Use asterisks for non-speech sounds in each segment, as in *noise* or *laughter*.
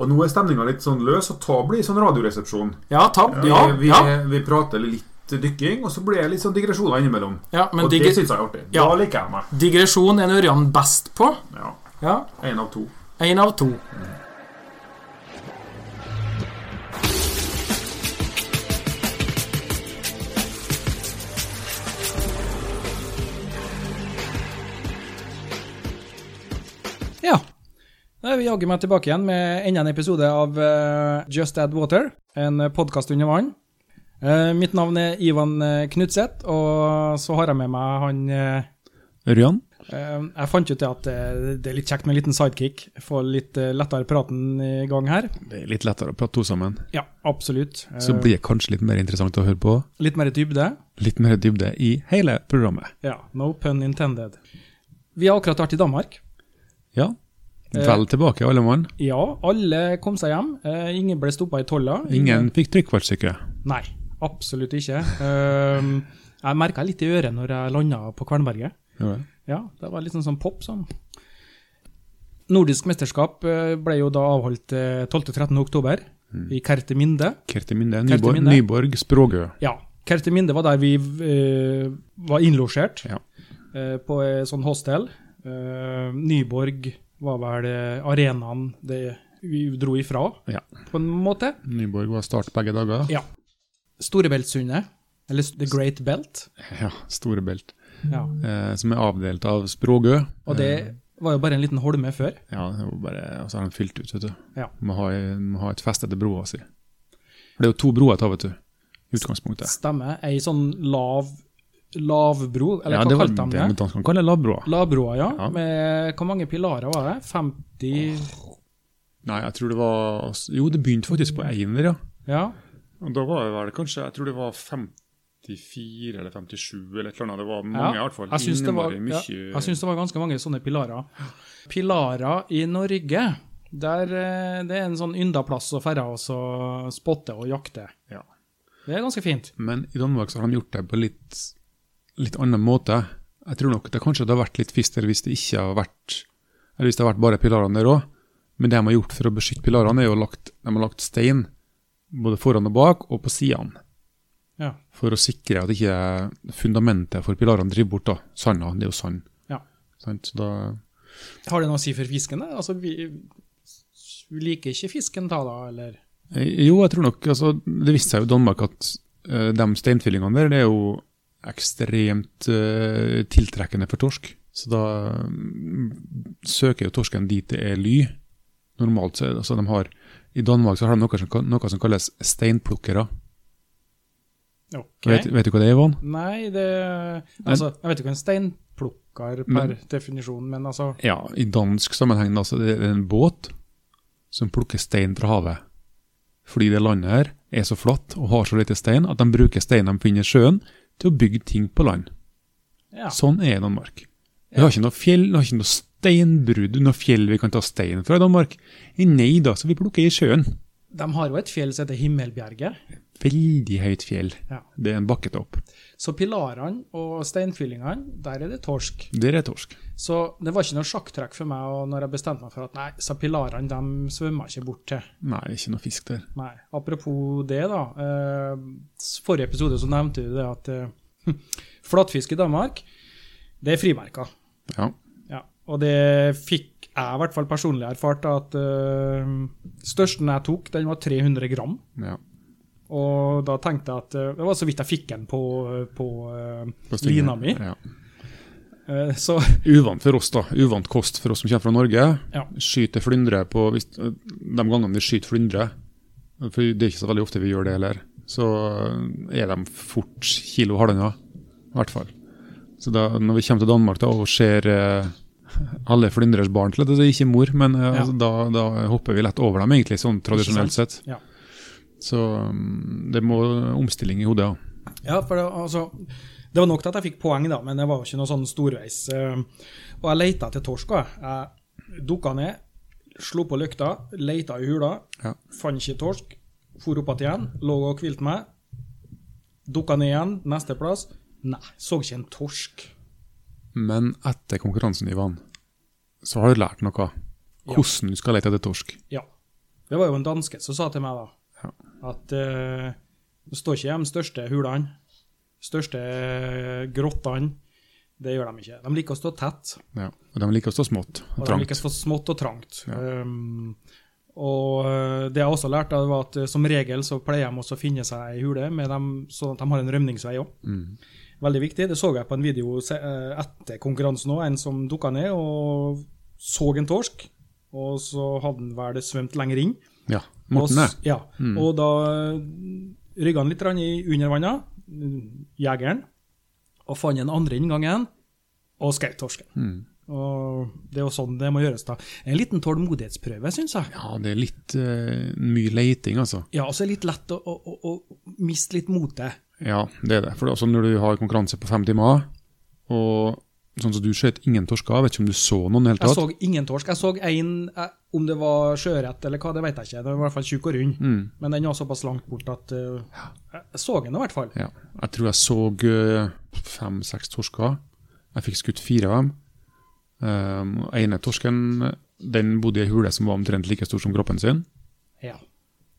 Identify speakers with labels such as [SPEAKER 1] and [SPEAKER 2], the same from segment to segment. [SPEAKER 1] Og nå er stemninga litt sånn løs, og ta blir sånn radioresepsjon.
[SPEAKER 2] Ja, tab, ja,
[SPEAKER 1] vi,
[SPEAKER 2] ja,
[SPEAKER 1] vi prater litt dykking, og så blir det litt sånn digresjoner innimellom.
[SPEAKER 2] ja, men
[SPEAKER 1] og det
[SPEAKER 2] digre,
[SPEAKER 1] syns jeg er artig.
[SPEAKER 2] Ja.
[SPEAKER 1] Da liker jeg meg.
[SPEAKER 2] digresjon er Ørjan best på.
[SPEAKER 1] Ja.
[SPEAKER 2] Ja,
[SPEAKER 1] Én av to.
[SPEAKER 2] Én av to.
[SPEAKER 3] Ja. Da er vi jaggu meg tilbake igjen med enda en episode av eh, Just Add Water, en podkast under vann. Eh, mitt navn er Ivan eh, Knutseth, og så har jeg med meg han eh,
[SPEAKER 4] Ørjan?
[SPEAKER 3] eh, Jeg fant ut det at eh, det er litt kjekt med en liten sidekick. Få litt eh, lettere praten i gang her.
[SPEAKER 4] Det er litt lettere å prate to sammen.
[SPEAKER 3] Ja, absolutt. Eh,
[SPEAKER 4] Så blir det kanskje litt mer interessant å høre på.
[SPEAKER 3] Litt mer dybde.
[SPEAKER 4] Litt mer dybde i hele programmet.
[SPEAKER 3] Ja, no pun intended. Vi har akkurat vært i Danmark.
[SPEAKER 4] Ja.
[SPEAKER 3] Eh.
[SPEAKER 4] Vel tilbake, alle mann.
[SPEAKER 3] Ja, alle kom seg hjem. Eh, ingen ble stoppa i tolla.
[SPEAKER 4] Ingen fikk trykkvartsyke.
[SPEAKER 3] Nei, absolutt ikke. Ehm, jeg merka litt i øret når jeg landa på Kvernberget.
[SPEAKER 4] Ja.
[SPEAKER 3] Ja, det var litt sånn, sånn pop. Sånn. Nordisk mesterskap eh, ble jo da avholdt eh, 12.-13. oktober i Kerteminde.
[SPEAKER 4] Kerteminde,
[SPEAKER 3] Kerteminde.
[SPEAKER 4] Nyborg, Nyborg Språgø.
[SPEAKER 3] Ja, Kerteminde var der vi eh, var innlosjert,
[SPEAKER 4] Ja.
[SPEAKER 3] eh, på et sånn hostel. Eh, Nyborg var vel eh, arenaen det vi dro ifra,
[SPEAKER 4] Ja.
[SPEAKER 3] på en måte.
[SPEAKER 4] Nyborg var start begge dager.
[SPEAKER 3] Ja. Storebeltsundet, eller The Great Belt.
[SPEAKER 4] Ja, Storebelt.
[SPEAKER 3] Ja.
[SPEAKER 4] Eh, som er avdelt av Språgø. Eh,
[SPEAKER 3] Og det var jo bare en liten holme før.
[SPEAKER 4] Ja, det var bare, og så har de fylt ut, vet du.
[SPEAKER 3] Ja.
[SPEAKER 4] Må ha, må ha et fest etter broa si. For det er jo to broer til, vet du. i Utgangspunktet.
[SPEAKER 3] Stemmer. Ei sånn lav lavbro, eller
[SPEAKER 4] ja,
[SPEAKER 3] hva
[SPEAKER 4] det var
[SPEAKER 3] kalte
[SPEAKER 4] det,
[SPEAKER 3] de
[SPEAKER 4] men
[SPEAKER 3] det?
[SPEAKER 4] de kan kalle det lavbroa.
[SPEAKER 3] Lavbroa, ja.
[SPEAKER 4] Ja.
[SPEAKER 3] Med hvor mange pilarer var det? 50
[SPEAKER 4] Nei, jeg tror det var Jo, det begynte faktisk på Einer, ja.
[SPEAKER 3] Ja.
[SPEAKER 4] Og da var det vel kanskje Jeg tror det var 54 eller 57 eller et eller annet. Det var mange, i hvert fall.
[SPEAKER 3] Jeg syns det, var-
[SPEAKER 4] Innmari
[SPEAKER 3] ja,
[SPEAKER 4] mye-
[SPEAKER 3] jeg syns det var ganske mange sånne pilarer. Pilarer i Norge, der eh, det er en sånn ynda plass å ferde og så spotte og jakte.
[SPEAKER 4] Ja.
[SPEAKER 3] Det er ganske fint.
[SPEAKER 4] Men i Danmark så har de gjort det på litt, litt annen måte. Jeg tror nok det kanskje det har vært litt fister hvis det ikke har vært eller hvis det har vært bare pilarene der òg. Men det de har gjort for å beskytte pilarene, er jo lagt, de har lagt stein både foran og bak og på sidene.
[SPEAKER 3] Ja.
[SPEAKER 4] For å sikre at ikke fundamentet for pilarene driver bort da. sanda. Det er jo sand.
[SPEAKER 3] Ja.
[SPEAKER 4] Sant? Så da,
[SPEAKER 3] Har det noe å si for fisken? da? Altså, vi, vi liker ikke fisken da, da, eller?
[SPEAKER 4] Eh, Jo, jeg tror nok altså, Det viste seg jo i Danmark at eh, de steinfillingene der, det er jo ekstremt eh, tiltrekkende for torsk. Så da mm, søker jo torsken dit det er ly. Normalt så er det, altså, de har I Danmark så har de noe som, ka- noe som kalles steinplukkere.
[SPEAKER 3] Ok.
[SPEAKER 4] Vet, vet du hva det er, Ivan?
[SPEAKER 3] Nei, det Altså, jeg vet ikke hva en steinplukker per
[SPEAKER 4] Men-
[SPEAKER 3] definisjon, men altså
[SPEAKER 4] Ja, i dansk sammenheng altså, det er en båt som plukker stein fra havet. Fordi det landet her er så flatt og har så lite stein at de bruker stein de finner i sjøen til å bygge ting på land.
[SPEAKER 3] Ja.
[SPEAKER 4] Sånn er Danmark. Vi har ikke noe fjell, vi har ikke noe steinbrudd, noe fjell vi kan ta stein fra i Danmark. Nei da, så vi plukker i sjøen.
[SPEAKER 3] De har jo et fjell som heter Himmelbjerget.
[SPEAKER 4] Veldig høyt fjell.
[SPEAKER 3] Ja.
[SPEAKER 4] Det er en bakketopp.
[SPEAKER 3] Så pilarene og steinfyllingene, der er det torsk.
[SPEAKER 4] Der er torsk.
[SPEAKER 3] Så det var ikke noe sjakktrekk for meg og når jeg bestemte meg for at nei, så pilarene de svømmer ikke bort til.
[SPEAKER 4] Nei, ikke noe fisk der.
[SPEAKER 3] Nei. Apropos det, da. Eh, s- forrige episode så nevnte du det at eh, *laughs* flatfisk i Danmark, det er frimerka.
[SPEAKER 4] Ja.
[SPEAKER 3] Ja, og det fikk jeg i hvert fall personlig erfart at øh, størsten jeg tok, den var 300 gram.
[SPEAKER 4] ja.
[SPEAKER 3] Og da tenkte jeg at øh, det var så vidt jeg fikk den på, øh, på, øh,
[SPEAKER 4] På stinget.
[SPEAKER 3] lina mi.
[SPEAKER 4] Ja.
[SPEAKER 3] Eh, så
[SPEAKER 4] Uvant for oss, da. Uvant kost for oss som kommer fra Norge.
[SPEAKER 3] Ja.
[SPEAKER 4] Skyter flyndre på hvis, eh, De gangene vi skyter flyndre, for det er ikke så veldig ofte vi gjør det heller, så eh, er de fort kilo halvannen. I hvert fall. Så da, når vi kommer til Danmark da, og ser eh, alle flyndres barn til det, det er ikke mor, men eh,
[SPEAKER 3] Ja.
[SPEAKER 4] altså, da, da hopper vi lett over dem, egentlig, sånn tradisjonelt sett.
[SPEAKER 3] Ja.
[SPEAKER 4] Så mm, det må omstilling i hodet, ja.
[SPEAKER 3] Ja, for det, altså, det var nok til at jeg fikk poeng, da, men det var jo ikke noe sånn storveis. eh. Og jeg leita etter torsk. også. Jeg dukka ned, slo på lykta, leita i hula,
[SPEAKER 4] Ja.
[SPEAKER 3] fant ikke torsk. For opp igjen, lå og hvilte meg. Dukka ned igjen, neste plass. Nei, så ikke en torsk.
[SPEAKER 4] Men etter konkurransen, Ivan, så har du lært noe. Hvordan du skal lete etter torsk.
[SPEAKER 3] Ja. Det var jo en danske som sa til meg da,
[SPEAKER 4] Ja.
[SPEAKER 3] at eh, det står ikke de største hulene, største eh, grottene, det gjør de ikke. De liker å stå tett,
[SPEAKER 4] Ja. Og de liker å stå smått
[SPEAKER 3] og
[SPEAKER 4] og
[SPEAKER 3] de liker å
[SPEAKER 4] trangt.
[SPEAKER 3] stå smått og trangt.
[SPEAKER 4] Ja.
[SPEAKER 3] Um, og eh, det jeg også lærte, da, var at eh, som regel så pleier de også å finne seg ei hule, med dem, sånn at de har en rømningsvei òg.
[SPEAKER 4] Mm.
[SPEAKER 3] Veldig viktig. Det så jeg på en video se- eh, etter konkurransen òg. En som dukka ned og så en torsk. Og så hadde han vel svømt lenger inn.
[SPEAKER 4] Ja.
[SPEAKER 3] Og
[SPEAKER 4] Morten, Mm.
[SPEAKER 3] s- Ja. Og da rygga han litt grann i- under vannet, mm, jegeren, og fant den andre inngangen og skjøt torsken.
[SPEAKER 4] Mm.
[SPEAKER 3] Og det er jo sånn det må gjøres, da. En liten tålmodighetsprøve, syns jeg.
[SPEAKER 4] Ja, det er litt eh, mye leiting, altså.
[SPEAKER 3] Ja, og så er det litt lett å, å, å, å miste litt motet.
[SPEAKER 4] Ja, det er det. For det er også når du har konkurranse på fem timer, og sånn som du skjøt ingen torsker, vet ikke om du så noen i det hele
[SPEAKER 3] Jeg
[SPEAKER 4] tatt.
[SPEAKER 3] så ingen torsk. Jeg så en, eh, om det var sjøørret eller hva, det vet jeg ikke. Den var i hvert fall tjukk og rund.
[SPEAKER 4] Mm.
[SPEAKER 3] Men den var såpass langt bort at eh, Jeg så den i hvert fall.
[SPEAKER 4] Ja. Jeg tror jeg så eh, fem-seks torsker. Jeg fikk skutt fire av dem. Um, og ene torsken den bodde i ei hule som var omtrent like stor som kroppen sin.
[SPEAKER 3] Ja.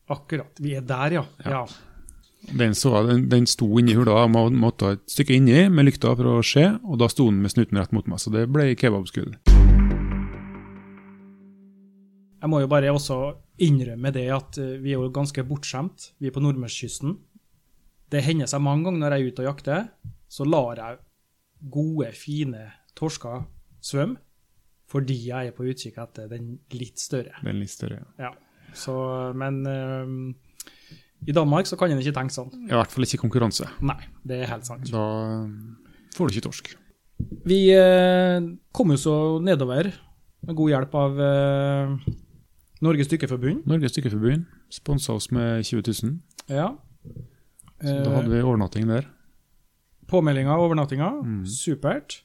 [SPEAKER 3] Akkurat. Vi er der, ja. ja.
[SPEAKER 4] Den, så, jeg- den, den sto inni hula, jeg må- måtte ha et stykke inni med lykta for å se, og da sto den med snuten rett mot meg, så det ble kebabskudd.
[SPEAKER 3] Jeg må jo bare også innrømme det at eh, vi er jo ganske bortskjemt, vi er på nordmørskysten. Det hender seg mange ganger når jeg er ute og jakter, så lar jeg gode, fine torsker svømme fordi jeg er på utkikk etter den litt større.
[SPEAKER 4] Den litt større. ja.
[SPEAKER 3] Ja. Så, men eh, i Danmark så kan en ikke tenke sånn.
[SPEAKER 4] I hvert fall ikke konkurranse.
[SPEAKER 3] Nei, det er helt sant.
[SPEAKER 4] Da um, får du ikke torsk.
[SPEAKER 3] Vi eh, kom jo så nedover med god hjelp av eh, Norges Dykkerforbund.
[SPEAKER 4] Norges Dykkerforbund sponsa oss med 20 000,
[SPEAKER 3] Ja.
[SPEAKER 4] så da hadde vi overnatting der.
[SPEAKER 3] Påmeldinga og overnattinga, supert.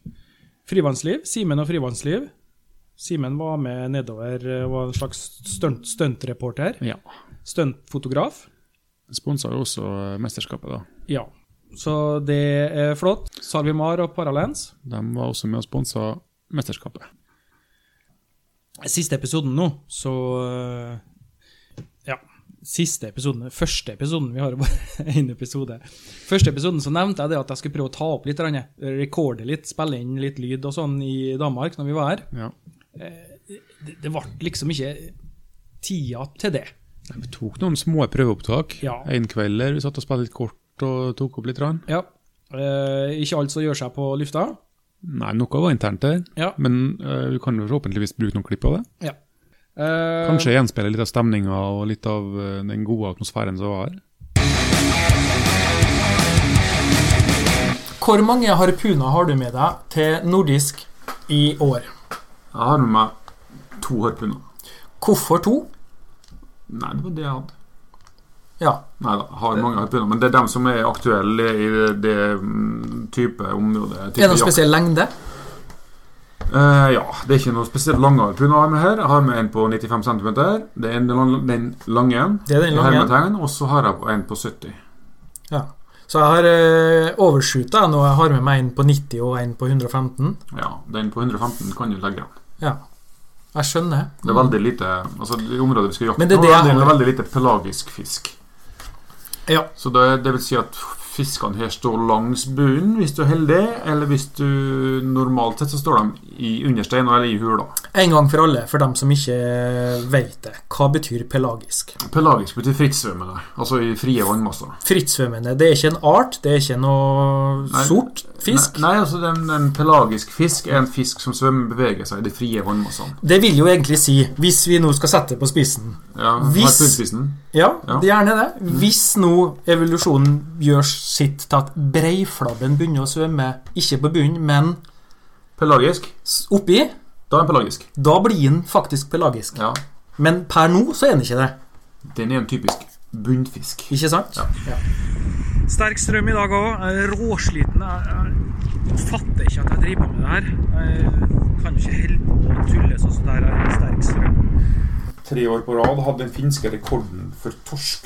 [SPEAKER 3] Frivannsliv, Simen og frivannsliv. Simen var med nedover, eh, var en slags stunt- stuntreporter.
[SPEAKER 4] Ja.
[SPEAKER 3] Stuntfotograf.
[SPEAKER 4] Sponsa jo også eh, mesterskapet, da.
[SPEAKER 3] Ja. Så det er flott. Salvimar og Paralens.
[SPEAKER 4] De var også med og sponsa mesterskapet.
[SPEAKER 3] Siste episoden nå, så øh, Ja. Siste episoden, første episoden, vi har jo bare *laughs* én episode. Første episoden så nevnte jeg det at jeg skulle prøve å ta opp litt, grann, rekorde litt, spille inn litt lyd og sånn i Danmark når vi var her.
[SPEAKER 4] Ja.
[SPEAKER 3] Det, det ble liksom ikke tida til det.
[SPEAKER 4] Vi tok noen små prøveopptak.
[SPEAKER 3] Ja.
[SPEAKER 4] En kveld der vi satt og spilte litt kort og tok opp litt. Rann.
[SPEAKER 3] Ja. Eh, ikke alt som gjør seg på lufta.
[SPEAKER 4] Nei, noe var internt der,
[SPEAKER 3] Ja.
[SPEAKER 4] men eh, vi kan jo forhåpentligvis bruke noen klipp av det.
[SPEAKER 3] ja. Eh,
[SPEAKER 4] Kanskje gjenspeile litt av stemninga og litt av eh, den gode atmosfæren som var her.
[SPEAKER 2] Hvor mange harpuner har du med deg til nordisk i år?
[SPEAKER 1] Jeg har med meg to harpuner.
[SPEAKER 2] Hvorfor to?
[SPEAKER 1] Nei, det var det jeg hadde.
[SPEAKER 2] Ja.
[SPEAKER 1] Nei da, jeg har mange harpuner. Men det er dem som er aktuelle i det, det mm, type området. Type
[SPEAKER 2] Er det noen
[SPEAKER 1] jakt.
[SPEAKER 2] spesiell lengde?
[SPEAKER 1] Eh, ja, det er ikke noe spesielt lange harpun jeg har med her. Jeg har med en på 95 cm. Det er en- den lange.
[SPEAKER 2] Det er den lange.
[SPEAKER 1] Hermetegn, og så har jeg en på 70.
[SPEAKER 2] Ja. Så jeg har eh, overshoota jeg nå. Jeg har med meg en på 90 og en på 115.
[SPEAKER 1] Ja, den på 115 kan du legge.
[SPEAKER 2] Ja. Jeg skjønner.
[SPEAKER 1] Det er veldig lite altså I området vi skal jakte
[SPEAKER 2] Men det
[SPEAKER 1] nå,
[SPEAKER 2] er det
[SPEAKER 1] er
[SPEAKER 2] jeg
[SPEAKER 1] det
[SPEAKER 2] har.
[SPEAKER 1] veldig lite pelagisk fisk.
[SPEAKER 2] Ja.
[SPEAKER 1] Så det, det vil si at fiskene her står langs bunnen, hvis du er heldig, eller hvis du Normalt sett så står de i under steiner eller i hula.
[SPEAKER 2] En gang for alle, for dem som ikke vet det. Hva betyr pelagisk?
[SPEAKER 1] Pelagisk betyr frittsvømmende, altså i frie vannmasser.
[SPEAKER 2] Frittsvømmende, det er ikke en art, det er ikke noe
[SPEAKER 1] Nei.
[SPEAKER 2] sort fisk.
[SPEAKER 1] Nei, nei altså en, en pelagisk fisk er en fisk som svømmer beveger seg i de frie vannmassene.
[SPEAKER 2] Det vil jo egentlig si, hvis vi nå skal sette det på spissen
[SPEAKER 1] Ja,
[SPEAKER 2] Hvis-
[SPEAKER 1] harpunspissen.
[SPEAKER 2] Ja,
[SPEAKER 1] Ja.
[SPEAKER 2] det er gjerne det. Hvis nå evolusjonen gjør sitt til at breiflabben begynner å svømme, ikke på bunnen, men
[SPEAKER 1] Pelagisk.
[SPEAKER 2] s- oppi,
[SPEAKER 1] Da er den pelagisk.
[SPEAKER 2] da blir den faktisk pelagisk.
[SPEAKER 1] Ja,
[SPEAKER 2] Men per nå så er den ikke det.
[SPEAKER 1] Den er en typisk bunnfisk.
[SPEAKER 2] Ikke sant?
[SPEAKER 3] Sterk strøm i dag òg. Råsliten. Jeg, jeg fatter ikke at jeg driver på med det her. Jeg kan jo ikke holde på å tulle sånn som det her er sterk strøm.
[SPEAKER 1] tre år på rad hadde den finske rekorden for torsk.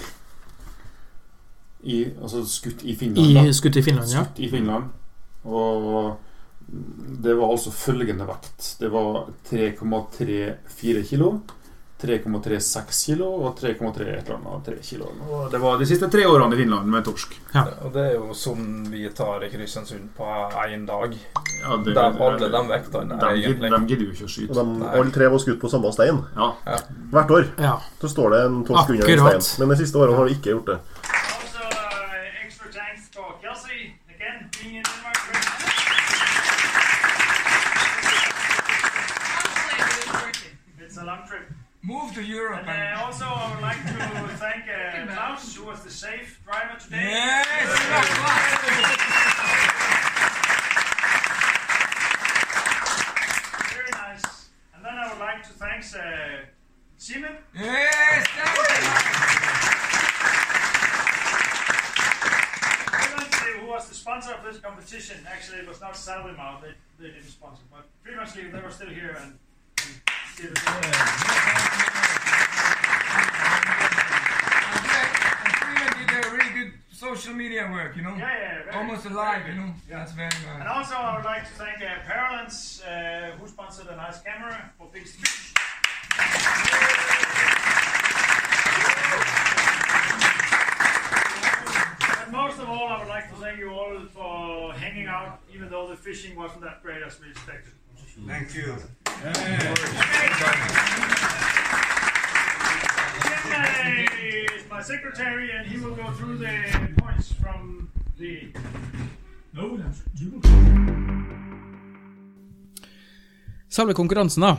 [SPEAKER 1] I, altså skutt i Finland.
[SPEAKER 2] I
[SPEAKER 1] da.
[SPEAKER 2] skutt i Finland, ja.
[SPEAKER 1] Skutt i Finland. Og det var altså følgende vekt. Det var 3,34 kilo, 3,36 kilo og 3,3 et eller annet 3 kilo. Og det var de siste tre årene i Finland med torsk.
[SPEAKER 5] Og det er jo som vi tar i Kristiansund på én dag.
[SPEAKER 1] Ja, det-
[SPEAKER 5] Der alle de vektene er
[SPEAKER 1] de, gidder-
[SPEAKER 5] egentlig
[SPEAKER 1] de gidder jo ikke å
[SPEAKER 6] Og
[SPEAKER 1] skyte.
[SPEAKER 6] de, alle tre var skutt på samme stein
[SPEAKER 1] Ja.
[SPEAKER 6] hvert år.
[SPEAKER 2] Ja.
[SPEAKER 6] Så står det en torsk under
[SPEAKER 2] Akkurat.
[SPEAKER 6] en stein. Men de siste årene har de ikke gjort det.
[SPEAKER 7] Also, uh, extra thanks to Kelsey again being in Denmark. Great. It's a long sånn trip.
[SPEAKER 8] Move to Europe.
[SPEAKER 7] And uh, also, I would like to thank uh, Klaus, who was the safe driver today. Very nice. And then I would like to thank uh, Simon.
[SPEAKER 8] Yes,
[SPEAKER 7] Previously, who was the sponsor of this competition? Actually, it was not Salvimar. They, they didn't sponsor, but previously they were still here and. and did it.
[SPEAKER 8] did a really good social media work, you know?
[SPEAKER 7] Yeah, yeah, very-
[SPEAKER 8] Almost
[SPEAKER 7] very
[SPEAKER 8] alive, you
[SPEAKER 7] good.
[SPEAKER 8] know? That's very
[SPEAKER 7] And
[SPEAKER 8] nice.
[SPEAKER 7] also, I would like to thank uh, Parallels, uh, who sponsored a nice camera for Big Speech. and most of all, I would like to thank you all for hanging out, even though the fishing wasn't that great as we expected.
[SPEAKER 8] Thank you.
[SPEAKER 7] Jim uh, is my secretary, and he will go through the points from the. No, you will.
[SPEAKER 3] Selve konkurransen, da.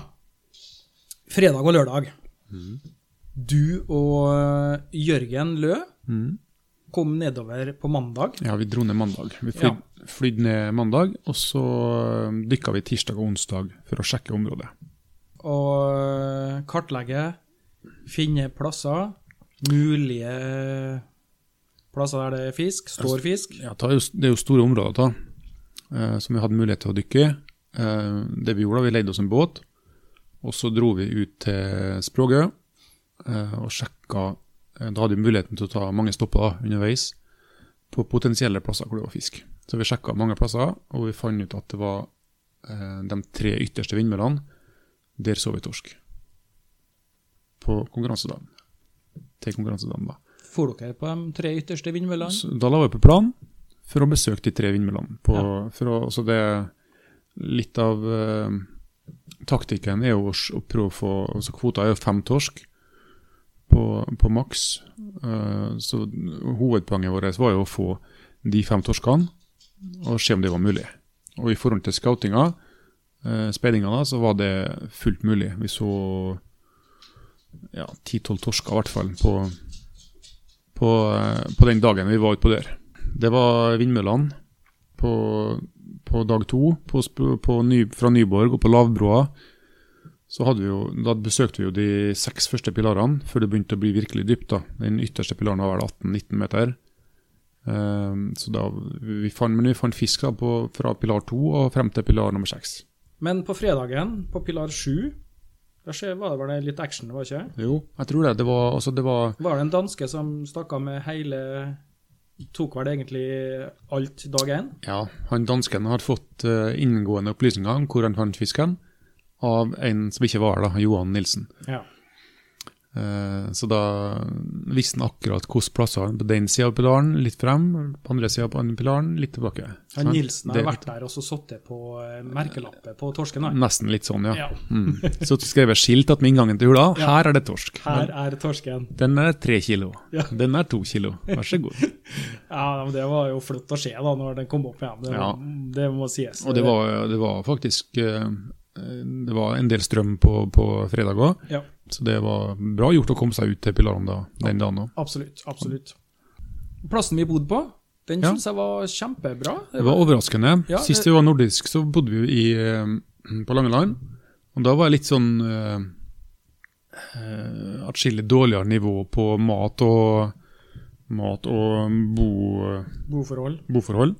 [SPEAKER 3] Fredag og lørdag. Du og eh, Jørgen Lø kom nedover på mandag.
[SPEAKER 4] Ja, vi dro ned mandag. Vi flydde flydde ned mandag, og så dykka vi tirsdag og onsdag for å sjekke området.
[SPEAKER 3] Og kartlegge, finne plasser, mulige plasser der det er fisk, står fisk.
[SPEAKER 4] Ja, ta, jo- Det er jo store områder da, eh, som vi hadde mulighet til å dykke i. Eh, det vi gjorde, da, vi leide oss en båt, og så dro vi ut til Språgøy eh, og sjekka eh, Da hadde vi muligheten til å ta mange stopper da, underveis på potensielle plasser hvor det var fisk. Så vi sjekka mange plasser, og vi fant ut at det var eh, de tre ytterste vindmøllene. Der så vi torsk. På konkurransedagen. Til konkurransedagen, da.
[SPEAKER 3] For dere på de tre ytterste vindmøllene.
[SPEAKER 4] Så da la vi på plan for å besøke de tre vindmøllene. På, for å, så det litt av eh, taktikken er jo å, s- å prøve å få altså Kvota er jo fem torsk på, på maks. Eh, så hovedpoenget vårt var jo å få de fem torskene og se om det var mulig. Og i forhold til scoutinga, uh, speidinga, da, så var det fullt mulig. Vi så ja, 10-12 torsker i hvert fall på på, eh, på den dagen vi var ute på der. Det var vindmøllene på, på dag to. På, Sp- på ny, fra Nyborg og på Lavbroa. Så hadde vi jo, da besøkte vi jo de seks første pilarene før det begynte å bli virkelig dypt. da. Den ytterste pilaren var vel 18-19 meter. Ehm, så da, vi fant, men vi fant fisk da på, fra pilar to og frem til pilar nummer seks.
[SPEAKER 3] Men på fredagen, på pilar 7, der skjer- var det vel litt action, var det ikke?
[SPEAKER 4] Jo, jeg tror det. Det var, altså det var
[SPEAKER 3] Var det en danske som stakk av med hele Tok vel egentlig alt dag én?
[SPEAKER 4] Ja, han dansken har fått eh, inngående opplysninger om hvor han fant fisken, av en som ikke var her, da, Johan Nilsen.
[SPEAKER 3] Ja.
[SPEAKER 4] Eh, så da visste han akkurat hvilke plasser han på den sida av pilaren, litt frem, på andre sida av den pilaren, litt tilbake.
[SPEAKER 3] Han
[SPEAKER 4] Sant?
[SPEAKER 3] Nilsen har
[SPEAKER 4] Det-
[SPEAKER 3] vært der og så satt det på eh, merkelappet på torsken. han.
[SPEAKER 4] Nesten litt sånn, ja.
[SPEAKER 3] Ja.
[SPEAKER 4] Mm. Så skrev jeg skilt at med inngangen til hula,
[SPEAKER 3] Ja.
[SPEAKER 4] her er det torsk.
[SPEAKER 3] Her er torsken.
[SPEAKER 4] Den er tre kilo.
[SPEAKER 3] Ja.
[SPEAKER 4] Den er to kilo. Vær så god.
[SPEAKER 3] Ja, men Det var jo flott å se da, når den kom opp igjen. Det,
[SPEAKER 4] Ja.
[SPEAKER 3] det må sies.
[SPEAKER 4] Og det var, det var faktisk eh, Det var en del strøm på, på fredag òg.
[SPEAKER 3] Ja,
[SPEAKER 4] Så det var bra gjort å komme seg ut til Pilarene da, den dagen òg.
[SPEAKER 3] absolutt. Absolutt. Plassen vi bodde på, den
[SPEAKER 4] Ja.
[SPEAKER 3] syns jeg var kjempebra.
[SPEAKER 4] Det var overraskende.
[SPEAKER 3] Ja, det-
[SPEAKER 4] Sist vi var nordisk, så bodde vi jo i, eh, på Langeland. Og da var jeg litt sånn eh, eh, Atskillig dårligere nivå på mat og, mat og bo,
[SPEAKER 3] Boforhold.
[SPEAKER 4] boforhold.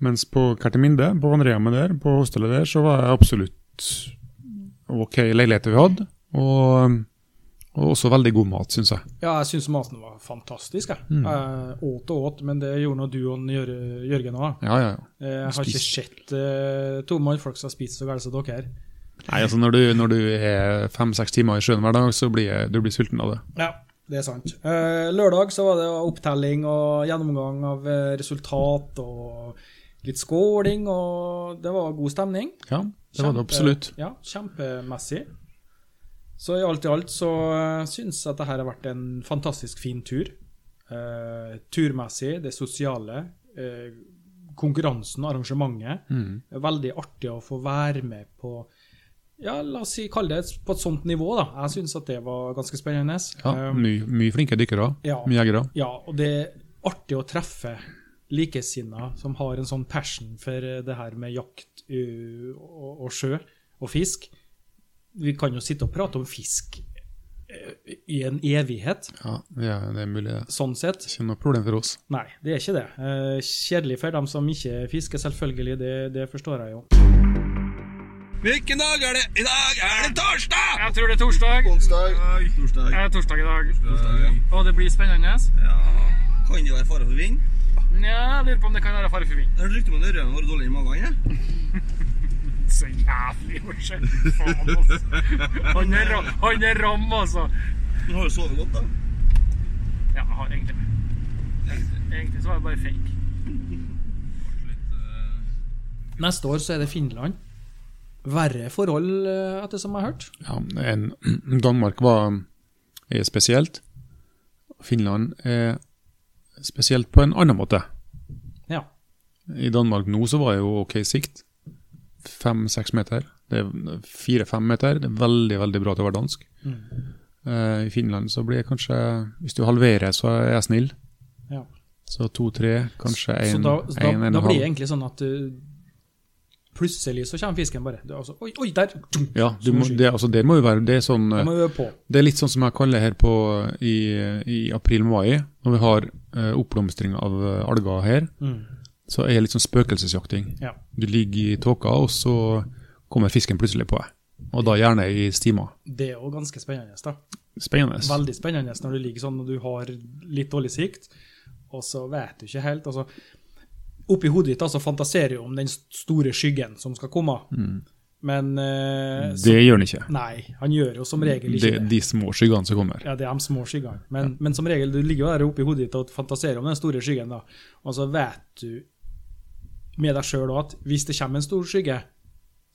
[SPEAKER 4] Mens på Kerteminde, på vandrehjemmet der, på hostelet der, så var jeg absolutt ok leiligheter vi hadde. Og, og også veldig god mat, syns jeg.
[SPEAKER 3] Ja, jeg syns maten var fantastisk. Jeg
[SPEAKER 4] Mm.
[SPEAKER 3] Jeg åt og åt, men det gjorde nå du og den Jør- Jørgen òg.
[SPEAKER 4] Ja, ja, ja.
[SPEAKER 3] Eh, Jeg har ikke
[SPEAKER 4] Spist.
[SPEAKER 3] sett eh, to mannfolk som har spist så galt som dere.
[SPEAKER 4] Nei, altså Når du, når du er fem-seks timer i sjøen hver dag, så blir jeg- du blir sulten av det.
[SPEAKER 3] Ja, det er sant. Eh, lørdag så var det opptelling og gjennomgang av eh, resultat og litt skåling, og det var god stemning.
[SPEAKER 4] Ja, det var det
[SPEAKER 3] Kjempe-
[SPEAKER 4] absolutt.
[SPEAKER 3] Ja, kjempemessig. Så i alt i alt så eh, syns jeg at det her har vært en fantastisk fin tur. Eh, turmessig, det sosiale, eh, konkurransen, arrangementet.
[SPEAKER 4] Mm.
[SPEAKER 3] Det er Veldig artig å få være med på ja, la oss si, kalle det på et sånt nivå, da. Jeg syns at det var ganske spennende.
[SPEAKER 4] Ja,
[SPEAKER 3] Eh,
[SPEAKER 4] Mye mye flinke dykkere.
[SPEAKER 3] Ja.
[SPEAKER 4] Mye jegere.
[SPEAKER 3] ja, og det er artig å treffe likesinna som har en sånn passion for eh, det her med jakt eh, og, og sjø og fisk. Vi kan jo sitte og prate om fisk eh, i en evighet,
[SPEAKER 4] Ja, ja, det er mulig. det.
[SPEAKER 3] sånn sett.
[SPEAKER 4] Ikke noe problem for oss.
[SPEAKER 3] Nei, det er ikke det. Eh, Kjedelig for dem som ikke fisker, selvfølgelig. Det, det forstår jeg jo.
[SPEAKER 9] Hvilken dag er det? I dag er det torsdag!
[SPEAKER 10] Jeg tror det er torsdag.
[SPEAKER 9] Onsdag. Torsdag.
[SPEAKER 10] Det er torsdag i dag.
[SPEAKER 9] Torsdag.
[SPEAKER 10] Og det blir spennende.
[SPEAKER 9] Ja. Kan det være fare for vind?
[SPEAKER 10] Nja, jeg lurer på om det kan være fare for vind.
[SPEAKER 9] Jeg hørte rykter om at ørene våre er dårlig i magen. jeg.
[SPEAKER 10] Så jævlig forskjell. Faen, altså. Han er, ra- han er ram, altså.
[SPEAKER 9] Men har du sovet godt, da?
[SPEAKER 10] Ja, jeg har egentlig Egentlig så var det bare fake.
[SPEAKER 3] Neste år så er det Finland. Verre forhold, eh, etter som jeg har hørt.
[SPEAKER 4] Ja, en, *clears throat* Danmark var, er spesielt. Finland er spesielt på en annen måte.
[SPEAKER 3] Ja.
[SPEAKER 4] I Danmark nå så var det jo ok sikt. Fem-seks meter. Det er Fire-fem meter. Det er veldig, veldig bra til å være dansk.
[SPEAKER 3] Mm.
[SPEAKER 4] Eh, I Finland så blir det kanskje Hvis du halverer, så er jeg snill.
[SPEAKER 3] Ja.
[SPEAKER 4] Så to-tre, kanskje
[SPEAKER 3] Så
[SPEAKER 4] én,
[SPEAKER 3] da, så da,
[SPEAKER 4] en og en
[SPEAKER 3] da blir det
[SPEAKER 4] halv.
[SPEAKER 3] egentlig sånn at uh, plutselig så kommer fisken bare. Det er altså, oi, oi, der! Tung.
[SPEAKER 4] Ja, du må, det, altså, det må jo være Det er sånn
[SPEAKER 3] Da
[SPEAKER 4] eh,
[SPEAKER 3] må vi øve på.
[SPEAKER 4] Det er litt sånn som jeg kaller her på i, i april-mai, når vi har eh, oppblomstring av eh, alger her,
[SPEAKER 3] Mm.
[SPEAKER 4] så er det litt sånn spøkelsesjakting.
[SPEAKER 3] Ja.
[SPEAKER 4] Du ligger i tåka, og så kommer fisken plutselig på deg. Og da gjerne i stimer.
[SPEAKER 3] Det er jo ganske spennende. da.
[SPEAKER 4] Spennende.
[SPEAKER 3] Veldig spennende når du ligger sånn og du har litt dårlig sikt, og så vet du ikke helt. altså, Oppi hodet ditt altså, fantaserer du om den store skyggen som skal komme,
[SPEAKER 4] Mm.
[SPEAKER 3] men eh, så,
[SPEAKER 4] Det gjør den ikke.
[SPEAKER 3] Nei, han gjør jo som regel
[SPEAKER 4] Det
[SPEAKER 3] ikke
[SPEAKER 4] er
[SPEAKER 3] det.
[SPEAKER 4] de små skyggene som kommer.
[SPEAKER 3] Ja, det er de små skyggene. Men, men som regel, du ligger jo der oppe i hodet ditt og fantaserer om den store skyggen, da. Og så vet du med deg sjøl at hvis det kommer en stor skygge,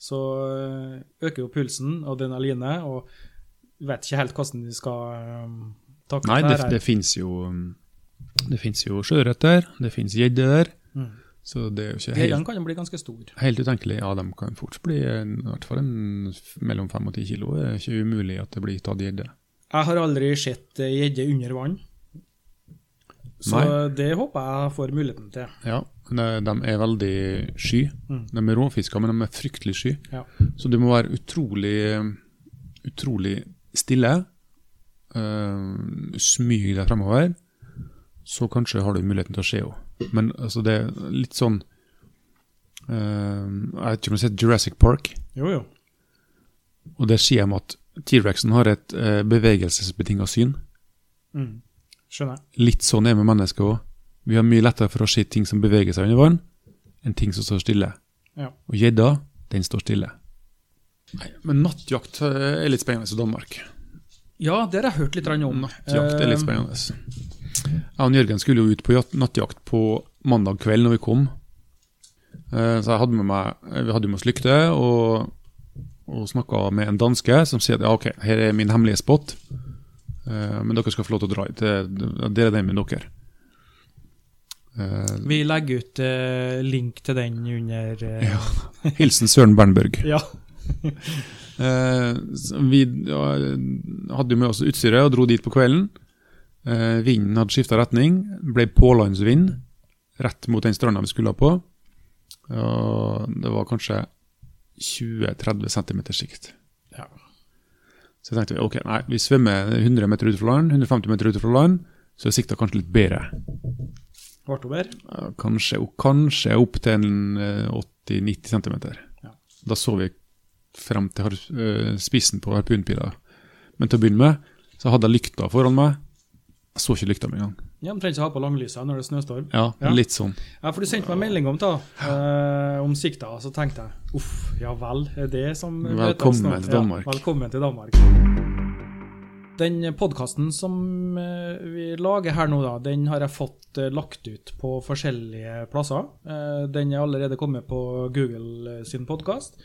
[SPEAKER 3] så øh, øker jo pulsen og adrenalinet, og vet ikke helt hvordan du skal øhm, takle
[SPEAKER 4] Nei, det,
[SPEAKER 3] her.
[SPEAKER 4] det fins jo um, Det fins jo sjøørret der, det fins gjedde der,
[SPEAKER 3] Mm.
[SPEAKER 4] så det er jo ikke
[SPEAKER 3] Gjeddene
[SPEAKER 4] helt,
[SPEAKER 3] kan jo bli ganske stor.
[SPEAKER 4] helt utenkelig. Ja, de kan fort bli en- i hvert fall en, f- mellom fem og ti kilo. Det er ikke umulig at det blir tatt gjedde.
[SPEAKER 3] Jeg har aldri sett eh, gjedde under vann. Så
[SPEAKER 4] Nei.
[SPEAKER 3] det håper jeg får muligheten til.
[SPEAKER 4] Ja, de, de er veldig sky. De er råfisker, men de er fryktelig sky.
[SPEAKER 3] Ja.
[SPEAKER 4] Så du må være utrolig, utrolig stille. Uh, smyg deg fremover. Så kanskje har du muligheten til å se henne. Men altså, det er litt sånn eh, Jeg vet ikke om du har sett Jurassic Park,
[SPEAKER 3] Jo, jo.
[SPEAKER 4] og der sier de at T-rexen har et uh, bevegelsesbetinga syn.
[SPEAKER 3] Mm. Skjønner. jeg.
[SPEAKER 4] Litt sånn er vi mennesker òg. Vi har mye lettere for å se ting som beveger seg under vann, enn ting som står stille.
[SPEAKER 3] Ja.
[SPEAKER 4] Og gjedda, den står stille. Nei, men nattjakt eh, er litt spennende i Danmark.
[SPEAKER 3] Ja, det har jeg hørt litt grann om.
[SPEAKER 4] Nattjakt er litt
[SPEAKER 3] Eh,
[SPEAKER 4] spennende. Jeg og Jørgen skulle jo ut på jakt- nattjakt på mandag kveld når vi kom. Eh, Så jeg hadde med meg, vi hadde med oss lykte og, og snakka med en danske som sier at ja, ok, her er min hemmelige spot, Eh, men dere skal få lov til å dra hit. Det- Det er den med dere.
[SPEAKER 3] *laughs*
[SPEAKER 4] Eh,
[SPEAKER 3] Vi legger ut eh, link til den under eh, ja.
[SPEAKER 4] Hilsen Søren Bernberg.
[SPEAKER 3] ja.
[SPEAKER 4] Eh, så vi ja, hadde jo med oss utstyret og dro dit på kvelden. Eh, vinden hadde skifta retning, ble pålandsvind rett mot den stranda vi skulle på. Og det var kanskje 20-30 cm sikt.
[SPEAKER 3] Ja.
[SPEAKER 4] Så jeg tenkte ok, nei, vi svømmer 100 meter ut fra land, 150 meter ut fra land, så er sikta kanskje litt bedre.
[SPEAKER 3] Ble det bedre?
[SPEAKER 4] Ja, kanskje, og kanskje opp til en eh, 80-90 cm.
[SPEAKER 3] Ja.
[SPEAKER 4] Da så vi frem til har, eh, spissen på harpunpila. Men til å begynne med så hadde jeg lykta foran meg. Jeg så ikke lykta med en gang.
[SPEAKER 3] Ja, Omtrent som å ha på langlysa når det er snøstorm.
[SPEAKER 4] Ja,
[SPEAKER 3] Ja.
[SPEAKER 4] litt sånn.
[SPEAKER 3] Ja, for du sendte meg en melding om det, eh, om sikta, og så tenkte jeg uff, ja vel, er det som møter oss nå?
[SPEAKER 4] Velkommen til Danmark.
[SPEAKER 3] Ja, velkommen til Danmark. Den podkasten som eh, vi lager her nå, da, den har jeg fått eh, lagt ut på forskjellige plasser. Eh, Den er allerede kommet på Google eh, sin podkast.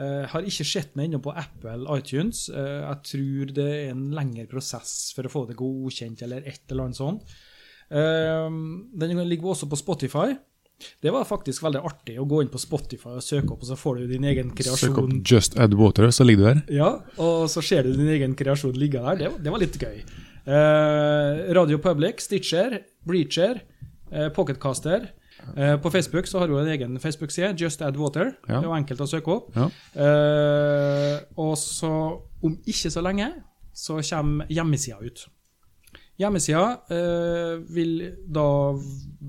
[SPEAKER 3] Har ikke sett den ennå på Apple iTunes. Eh, Jeg tror det er en lengre prosess for å få det godkjent, eller et eller annet sånt. Eh, Den ligger også på Spotify. Det var faktisk veldig artig å gå inn på Spotify og søke opp, og så får du din egen kreasjon.
[SPEAKER 4] Søk opp Just Add Water, så ligger du der.
[SPEAKER 3] Ja, og så ser du din egen kreasjon ligge der. Det, var- det var litt gøy. Eh, Radio Public, Stitcher, Breacher, eh, Pocketcaster. Eh, på Facebook så har hun en egen Facebook-side, Just Add Water.
[SPEAKER 4] Ja.
[SPEAKER 3] Det var enkelt å søke opp.
[SPEAKER 4] Ja.
[SPEAKER 3] Eh, og så, om ikke så lenge, så kommer hjemmesida ut. Hjemmesida eh, vil da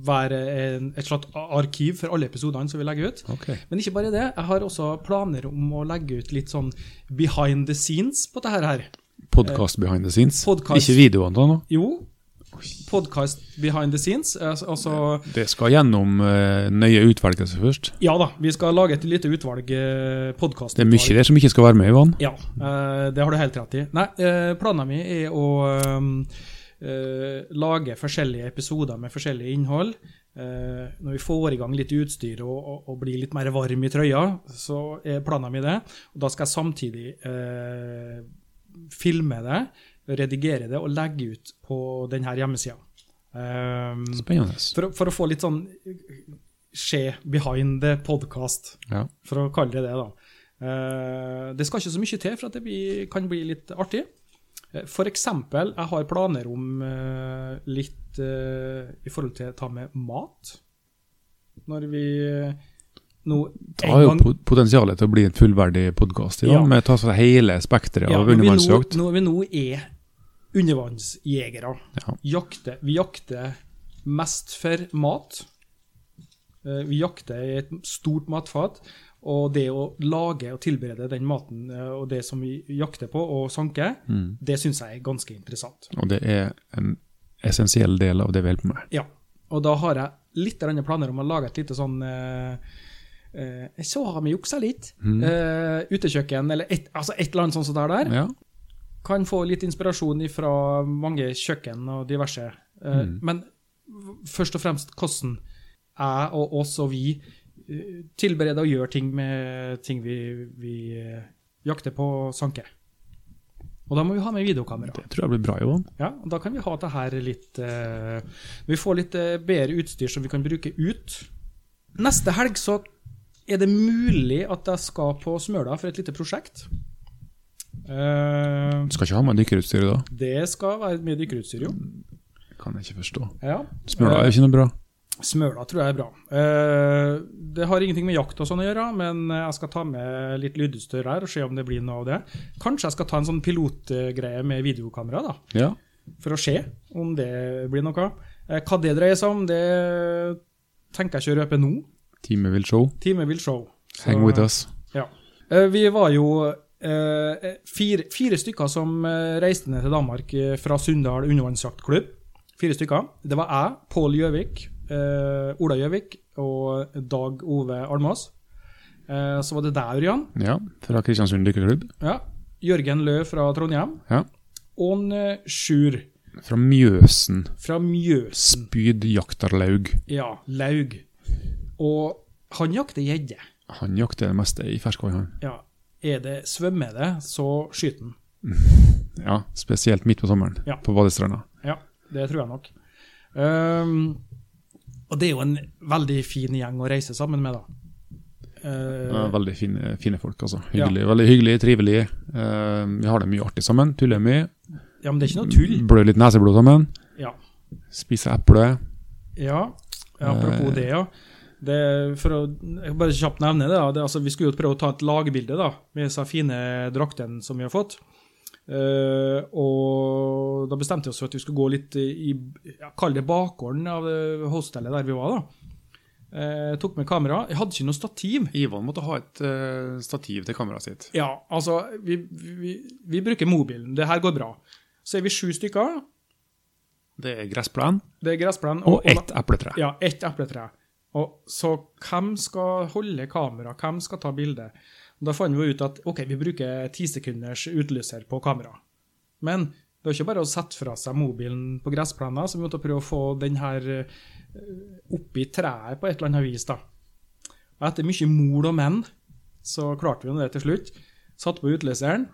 [SPEAKER 3] være en, et slags arkiv for alle episodene som vi legger ut.
[SPEAKER 4] Ok.
[SPEAKER 3] Men ikke bare det, jeg har også planer om å legge ut litt sånn behind the scenes på dette her.
[SPEAKER 4] Podcast
[SPEAKER 3] Eh.
[SPEAKER 4] behind the scenes.
[SPEAKER 3] podcast.
[SPEAKER 4] Ikke videoene da nå.
[SPEAKER 3] Jo, podcast behind the scenes. eh, Altså,
[SPEAKER 4] Det skal gjennom eh, nøye utvelgelse først.
[SPEAKER 3] ja da, vi skal lage et lite utvalg eh, podcast.
[SPEAKER 4] Det er mye der som ikke skal være med, Ivan.
[SPEAKER 3] Ja, eh, det har du helt rett i. Nei, eh, planen min er å eh, eh, lage forskjellige episoder med forskjellig innhold. Eh, når vi får i gang litt utstyr og, og, og blir litt mer varm i trøya, så er planen min det. Og da skal jeg samtidig eh, filme det, redigere det og legge ut på denne hjemmesida. Eh,
[SPEAKER 4] Spennende.
[SPEAKER 3] for, å- for å få litt sånn skje behind the podcast
[SPEAKER 4] Ja.
[SPEAKER 3] for å kalle det det, da. Eh, det skal ikke så mye til for at det blir, kan bli litt artig. Eh, For eksempel, jeg har planer om eh, litt eh, i forhold til å ta med mat. Når vi eh, nå
[SPEAKER 4] Det har jo po- potensialet til å bli en fullverdig podkast i dag,
[SPEAKER 3] Ja.
[SPEAKER 4] med å ta seg hele spekteret
[SPEAKER 3] Ja,
[SPEAKER 4] av
[SPEAKER 3] når vi nå-
[SPEAKER 4] undervannsjakt.
[SPEAKER 3] Når vi nå er undervannsjegere,
[SPEAKER 4] Ja.
[SPEAKER 3] jakter, vi jakter mest for mat. Eh, Vi jakter i et stort matfat, og det å lage og tilberede den maten eh, og det som vi jakter på og sanker,
[SPEAKER 4] Mm.
[SPEAKER 3] det syns jeg er ganske interessant.
[SPEAKER 4] Og det er en essensiell del av det vi holder på med.
[SPEAKER 3] Ja, og da har jeg litt grann planer om å lage et lite sånn eh, eh, Så har vi juksa litt. Eh, utekjøkken, eller et, altså et eller annet sånt som det er der.
[SPEAKER 4] Ja.
[SPEAKER 3] kan få litt inspirasjon fra mange kjøkken og diverse. Eh, Men v- først og fremst hvordan jeg og oss og vi eh, tilbereder og gjør ting med ting vi, vi eh, jakter på og sanker. Og da må vi ha med videokamera.
[SPEAKER 4] Det tror jeg blir bra, Ivan.
[SPEAKER 3] Ja, og da kan vi ha det her litt eh, Vi får litt eh, bedre utstyr som vi kan bruke ut. Neste helg så er det mulig at jeg skal på Smøla for et lite prosjekt. Eh,
[SPEAKER 4] Du skal ikke ha med dykkerutstyr da?
[SPEAKER 3] det skal være med dykkerutstyr, jo.
[SPEAKER 4] Kan jeg ikke forstå.
[SPEAKER 3] Ja.
[SPEAKER 4] Smøla er
[SPEAKER 3] Eh,
[SPEAKER 4] jo ikke noe bra.
[SPEAKER 3] Smøla tror jeg er bra. Eh, det har ingenting med jakt og sånn å gjøre, men jeg skal ta med litt lydutstyr her og se om det blir noe av det. Kanskje jeg skal ta en sånn pilotgreie med videokamera, da.
[SPEAKER 4] Ja.
[SPEAKER 3] For å se om det blir noe. Eh, hva det dreier seg om, det tenker jeg ikke å røpe nå.
[SPEAKER 4] Teamet vil show.
[SPEAKER 3] Time will show. Så-
[SPEAKER 4] Hang with us.
[SPEAKER 3] Ja. Eh, Vi var jo eh, fire, fire stykker som eh, reiste ned til Danmark eh, fra Sunndal undervannsjaktklubb. Fire stykker. Det var jeg, Pål Gjøvik, eh, Ola Gjøvik og Dag Ove Almås. Eh, så var det deg, Ørjan.
[SPEAKER 4] Ja, fra Kristiansund dykkerklubb.
[SPEAKER 3] Ja. Jørgen Lø fra Trondheim.
[SPEAKER 4] Ja.
[SPEAKER 3] Og en, eh, Sjur
[SPEAKER 4] Fra Mjøsen.
[SPEAKER 3] fra Mjøsen.
[SPEAKER 4] Spyd jaktarlaug.
[SPEAKER 3] Ja, Laug. Og han jakter gjedde.
[SPEAKER 4] Han jakter det meste i ferskvann, han.
[SPEAKER 3] Ja. Er det svømmer det, så skyter han.
[SPEAKER 4] Ja, spesielt midt på sommeren,
[SPEAKER 3] Ja.
[SPEAKER 4] på Badestranda.
[SPEAKER 3] Ja, det tror jeg nok. Ehm, og det er jo en veldig fin gjeng å reise sammen med, da. Eh,
[SPEAKER 4] Ja, veldig fine, fine folk, altså. Hyggelig, Veldig hyggelige, trivelige. Eh, vi har det mye artig sammen. Tuller mye.
[SPEAKER 3] ja, men det er ikke noe tull.
[SPEAKER 4] Blør litt neseblod sammen.
[SPEAKER 3] Ja.
[SPEAKER 4] Spiser eple.
[SPEAKER 3] Ja, apropos
[SPEAKER 4] Eh.
[SPEAKER 3] det, ja. Det, for å jeg bare kjapt nevne det, da. det altså, Vi skulle jo prøve å ta et lagbilde da, med disse fine draktene som vi har fått. Eh, og da bestemte vi oss for at vi skulle gå litt i ja, Kall det bakgården av eh, hostellet der vi var. da. Eh, tok med kamera. Jeg hadde ikke noe stativ.
[SPEAKER 4] Ivan måtte ha et eh, stativ til kameraet sitt.
[SPEAKER 3] Ja, altså, vi, vi, vi bruker mobilen. Det her går bra. Så er vi sju stykker.
[SPEAKER 4] Det er gressplen
[SPEAKER 3] Det er gressplen
[SPEAKER 4] og ett epletre.
[SPEAKER 3] Ja, ett epletre. Og så hvem skal holde kamera, hvem skal ta bilde? Da fant vi ut at ok, vi bruker ti sekunders utlyser på kamera. Men det er ikke bare å sette fra seg mobilen på gressplenen, så vi måtte prøve å få den her eh, oppi treet på et eller annet vis, da. Og etter mye mol og menn, så klarte vi jo det til slutt. Satte på utløseren,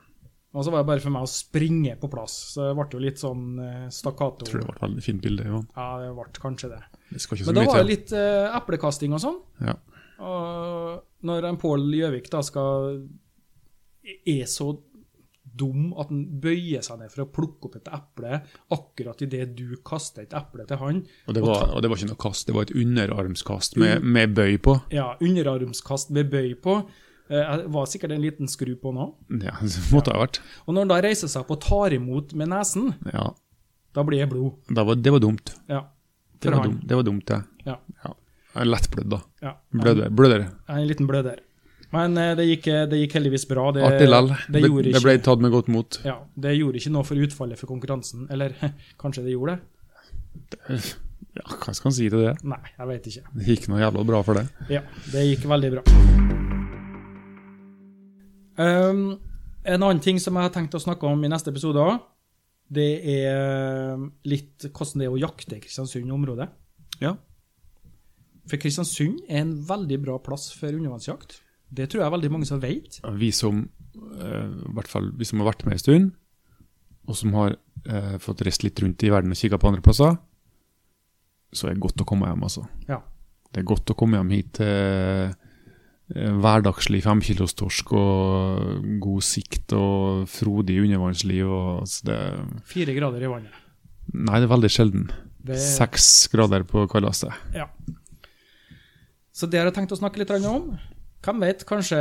[SPEAKER 3] og så var det bare for meg å springe på plass. Så det ble jo litt sånn eh, stakkato.
[SPEAKER 4] Jeg tror det var et veldig fint bilde. Johan.
[SPEAKER 3] Ja, det ble kanskje det.
[SPEAKER 4] Det skal ikke så
[SPEAKER 3] Men da
[SPEAKER 4] mye
[SPEAKER 3] var det
[SPEAKER 4] til.
[SPEAKER 3] litt eh, eplekasting og sånn.
[SPEAKER 4] Ja.
[SPEAKER 3] Og når en Pål Gjøvik da skal er så dum at han bøyer seg ned for å plukke opp et eple akkurat idet du kaster et eple til han
[SPEAKER 4] Og det, var, og det var ikke noe kast, det var et underarmskast med, med bøy på.
[SPEAKER 3] Ja, underarmskast med bøy på. Eh, jeg var sikkert en liten skru på nå.
[SPEAKER 4] Ja, *laughs* det måtte det ha vært.
[SPEAKER 3] Og når han da reiser seg opp og tar imot med nesen,
[SPEAKER 4] Ja,
[SPEAKER 3] da blir det blod.
[SPEAKER 4] det var, det var dumt.
[SPEAKER 3] Ja.
[SPEAKER 4] Det
[SPEAKER 3] For
[SPEAKER 4] var,
[SPEAKER 3] han.
[SPEAKER 4] dumt, det var dumt, det.
[SPEAKER 3] Ja.
[SPEAKER 4] Jeg er Lettblødd, da.
[SPEAKER 3] ja.
[SPEAKER 4] Blødere. blødere.
[SPEAKER 3] Jeg er En liten bløder. Men eh, det gikk, det gikk heldigvis bra. Det,
[SPEAKER 4] Artig lell.
[SPEAKER 3] Det,
[SPEAKER 4] Eh, Det,
[SPEAKER 3] gjorde
[SPEAKER 4] det ble
[SPEAKER 3] ikke-
[SPEAKER 4] tatt med godt mot.
[SPEAKER 3] Ja, det gjorde ikke noe for utfallet for konkurransen. Eller *laughs* kanskje det gjorde det?
[SPEAKER 4] Ja, hva skal man si til det?
[SPEAKER 3] Nei, jeg vet ikke.
[SPEAKER 4] Det gikk noe jævla bra for det.
[SPEAKER 3] Ja, det gikk veldig bra. Um, en annen ting som jeg har tenkt å snakke om i neste episode òg, det er ehm, litt hvordan det er å jakte i Kristiansund-området.
[SPEAKER 4] Ja.
[SPEAKER 3] For Kristiansund er en veldig bra plass for undervannsjakt. Det tror jeg veldig mange som vet.
[SPEAKER 4] vi som, eh, i hvert fall, vi som har vært med en stund, og som har eh, fått reist litt rundt i verden og kikka på andre plasser, så er det godt å komme hjem, altså.
[SPEAKER 3] Ja.
[SPEAKER 4] Det er godt å komme hjem hit til eh, hverdagslig femkilostorsk og god sikt og frodig undervannsliv. Og, så det,
[SPEAKER 3] Fire grader i vannet.
[SPEAKER 4] nei, det er veldig sjelden.
[SPEAKER 3] Det,
[SPEAKER 4] Seks grader på kalaset.
[SPEAKER 3] ja. Så det har jeg tenkt å snakke litt grann om. Hvem vet, kanskje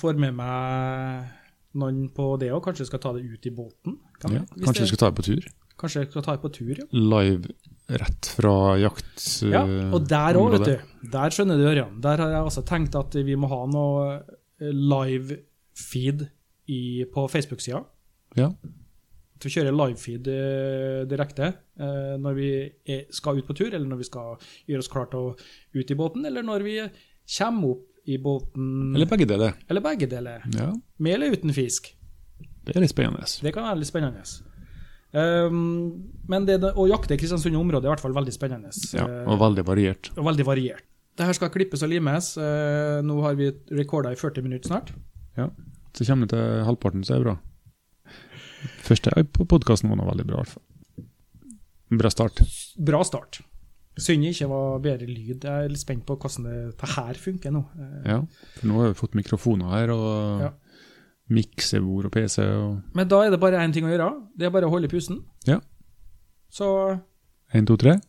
[SPEAKER 3] får med meg noen på det òg. Kanskje jeg skal ta det ut i båten. Hvem
[SPEAKER 4] Ja,
[SPEAKER 3] vet? Hvis
[SPEAKER 4] kanskje vi
[SPEAKER 3] det-
[SPEAKER 4] skal ta det på tur?
[SPEAKER 3] Kanskje jeg skal ta det på tur, ja.
[SPEAKER 4] Live rett fra jakt... eh,
[SPEAKER 3] Ja, og der òg,
[SPEAKER 4] området.
[SPEAKER 3] vet du. Der skjønner du, Ørjan. Der har jeg også tenkt at vi må ha noe eh, live feed i, på Facebook-sida.
[SPEAKER 4] Ja.
[SPEAKER 3] At vi kjører live feed eh, direkte eh, når vi er, skal ut på tur, eller når vi skal gjøre oss klare til å ut i båten, eller når vi kommer opp i båten,
[SPEAKER 4] Eller begge deler.
[SPEAKER 3] eller begge deler.
[SPEAKER 4] Ja,
[SPEAKER 3] Med eller uten fisk.
[SPEAKER 4] det er litt spennende.
[SPEAKER 3] Det kan være litt spennende. Um, men det å jakte i Kristiansund-området er i hvert fall veldig spennende.
[SPEAKER 4] Ja,
[SPEAKER 3] Eh,
[SPEAKER 4] og veldig variert.
[SPEAKER 3] og veldig variert. Det her skal klippes og limes. Eh, Nå har vi rekorda i 40 minutter snart.
[SPEAKER 4] Så kommer det til halvparten, så er det bra. Første på podkasten var nå veldig bra, i hvert fall. Bra start.
[SPEAKER 3] Bra start. Synd det ikke var bedre lyd. Jeg er litt spent på hvordan det, det her funker nå. Eh,
[SPEAKER 4] Ja, for nå har vi fått mikrofoner her, og
[SPEAKER 3] Ja.
[SPEAKER 4] miksebord og PC og
[SPEAKER 3] Men da er det bare én ting å gjøre. Det er bare å holde pusten.
[SPEAKER 4] Ja.
[SPEAKER 3] Så
[SPEAKER 4] Én, to, tre.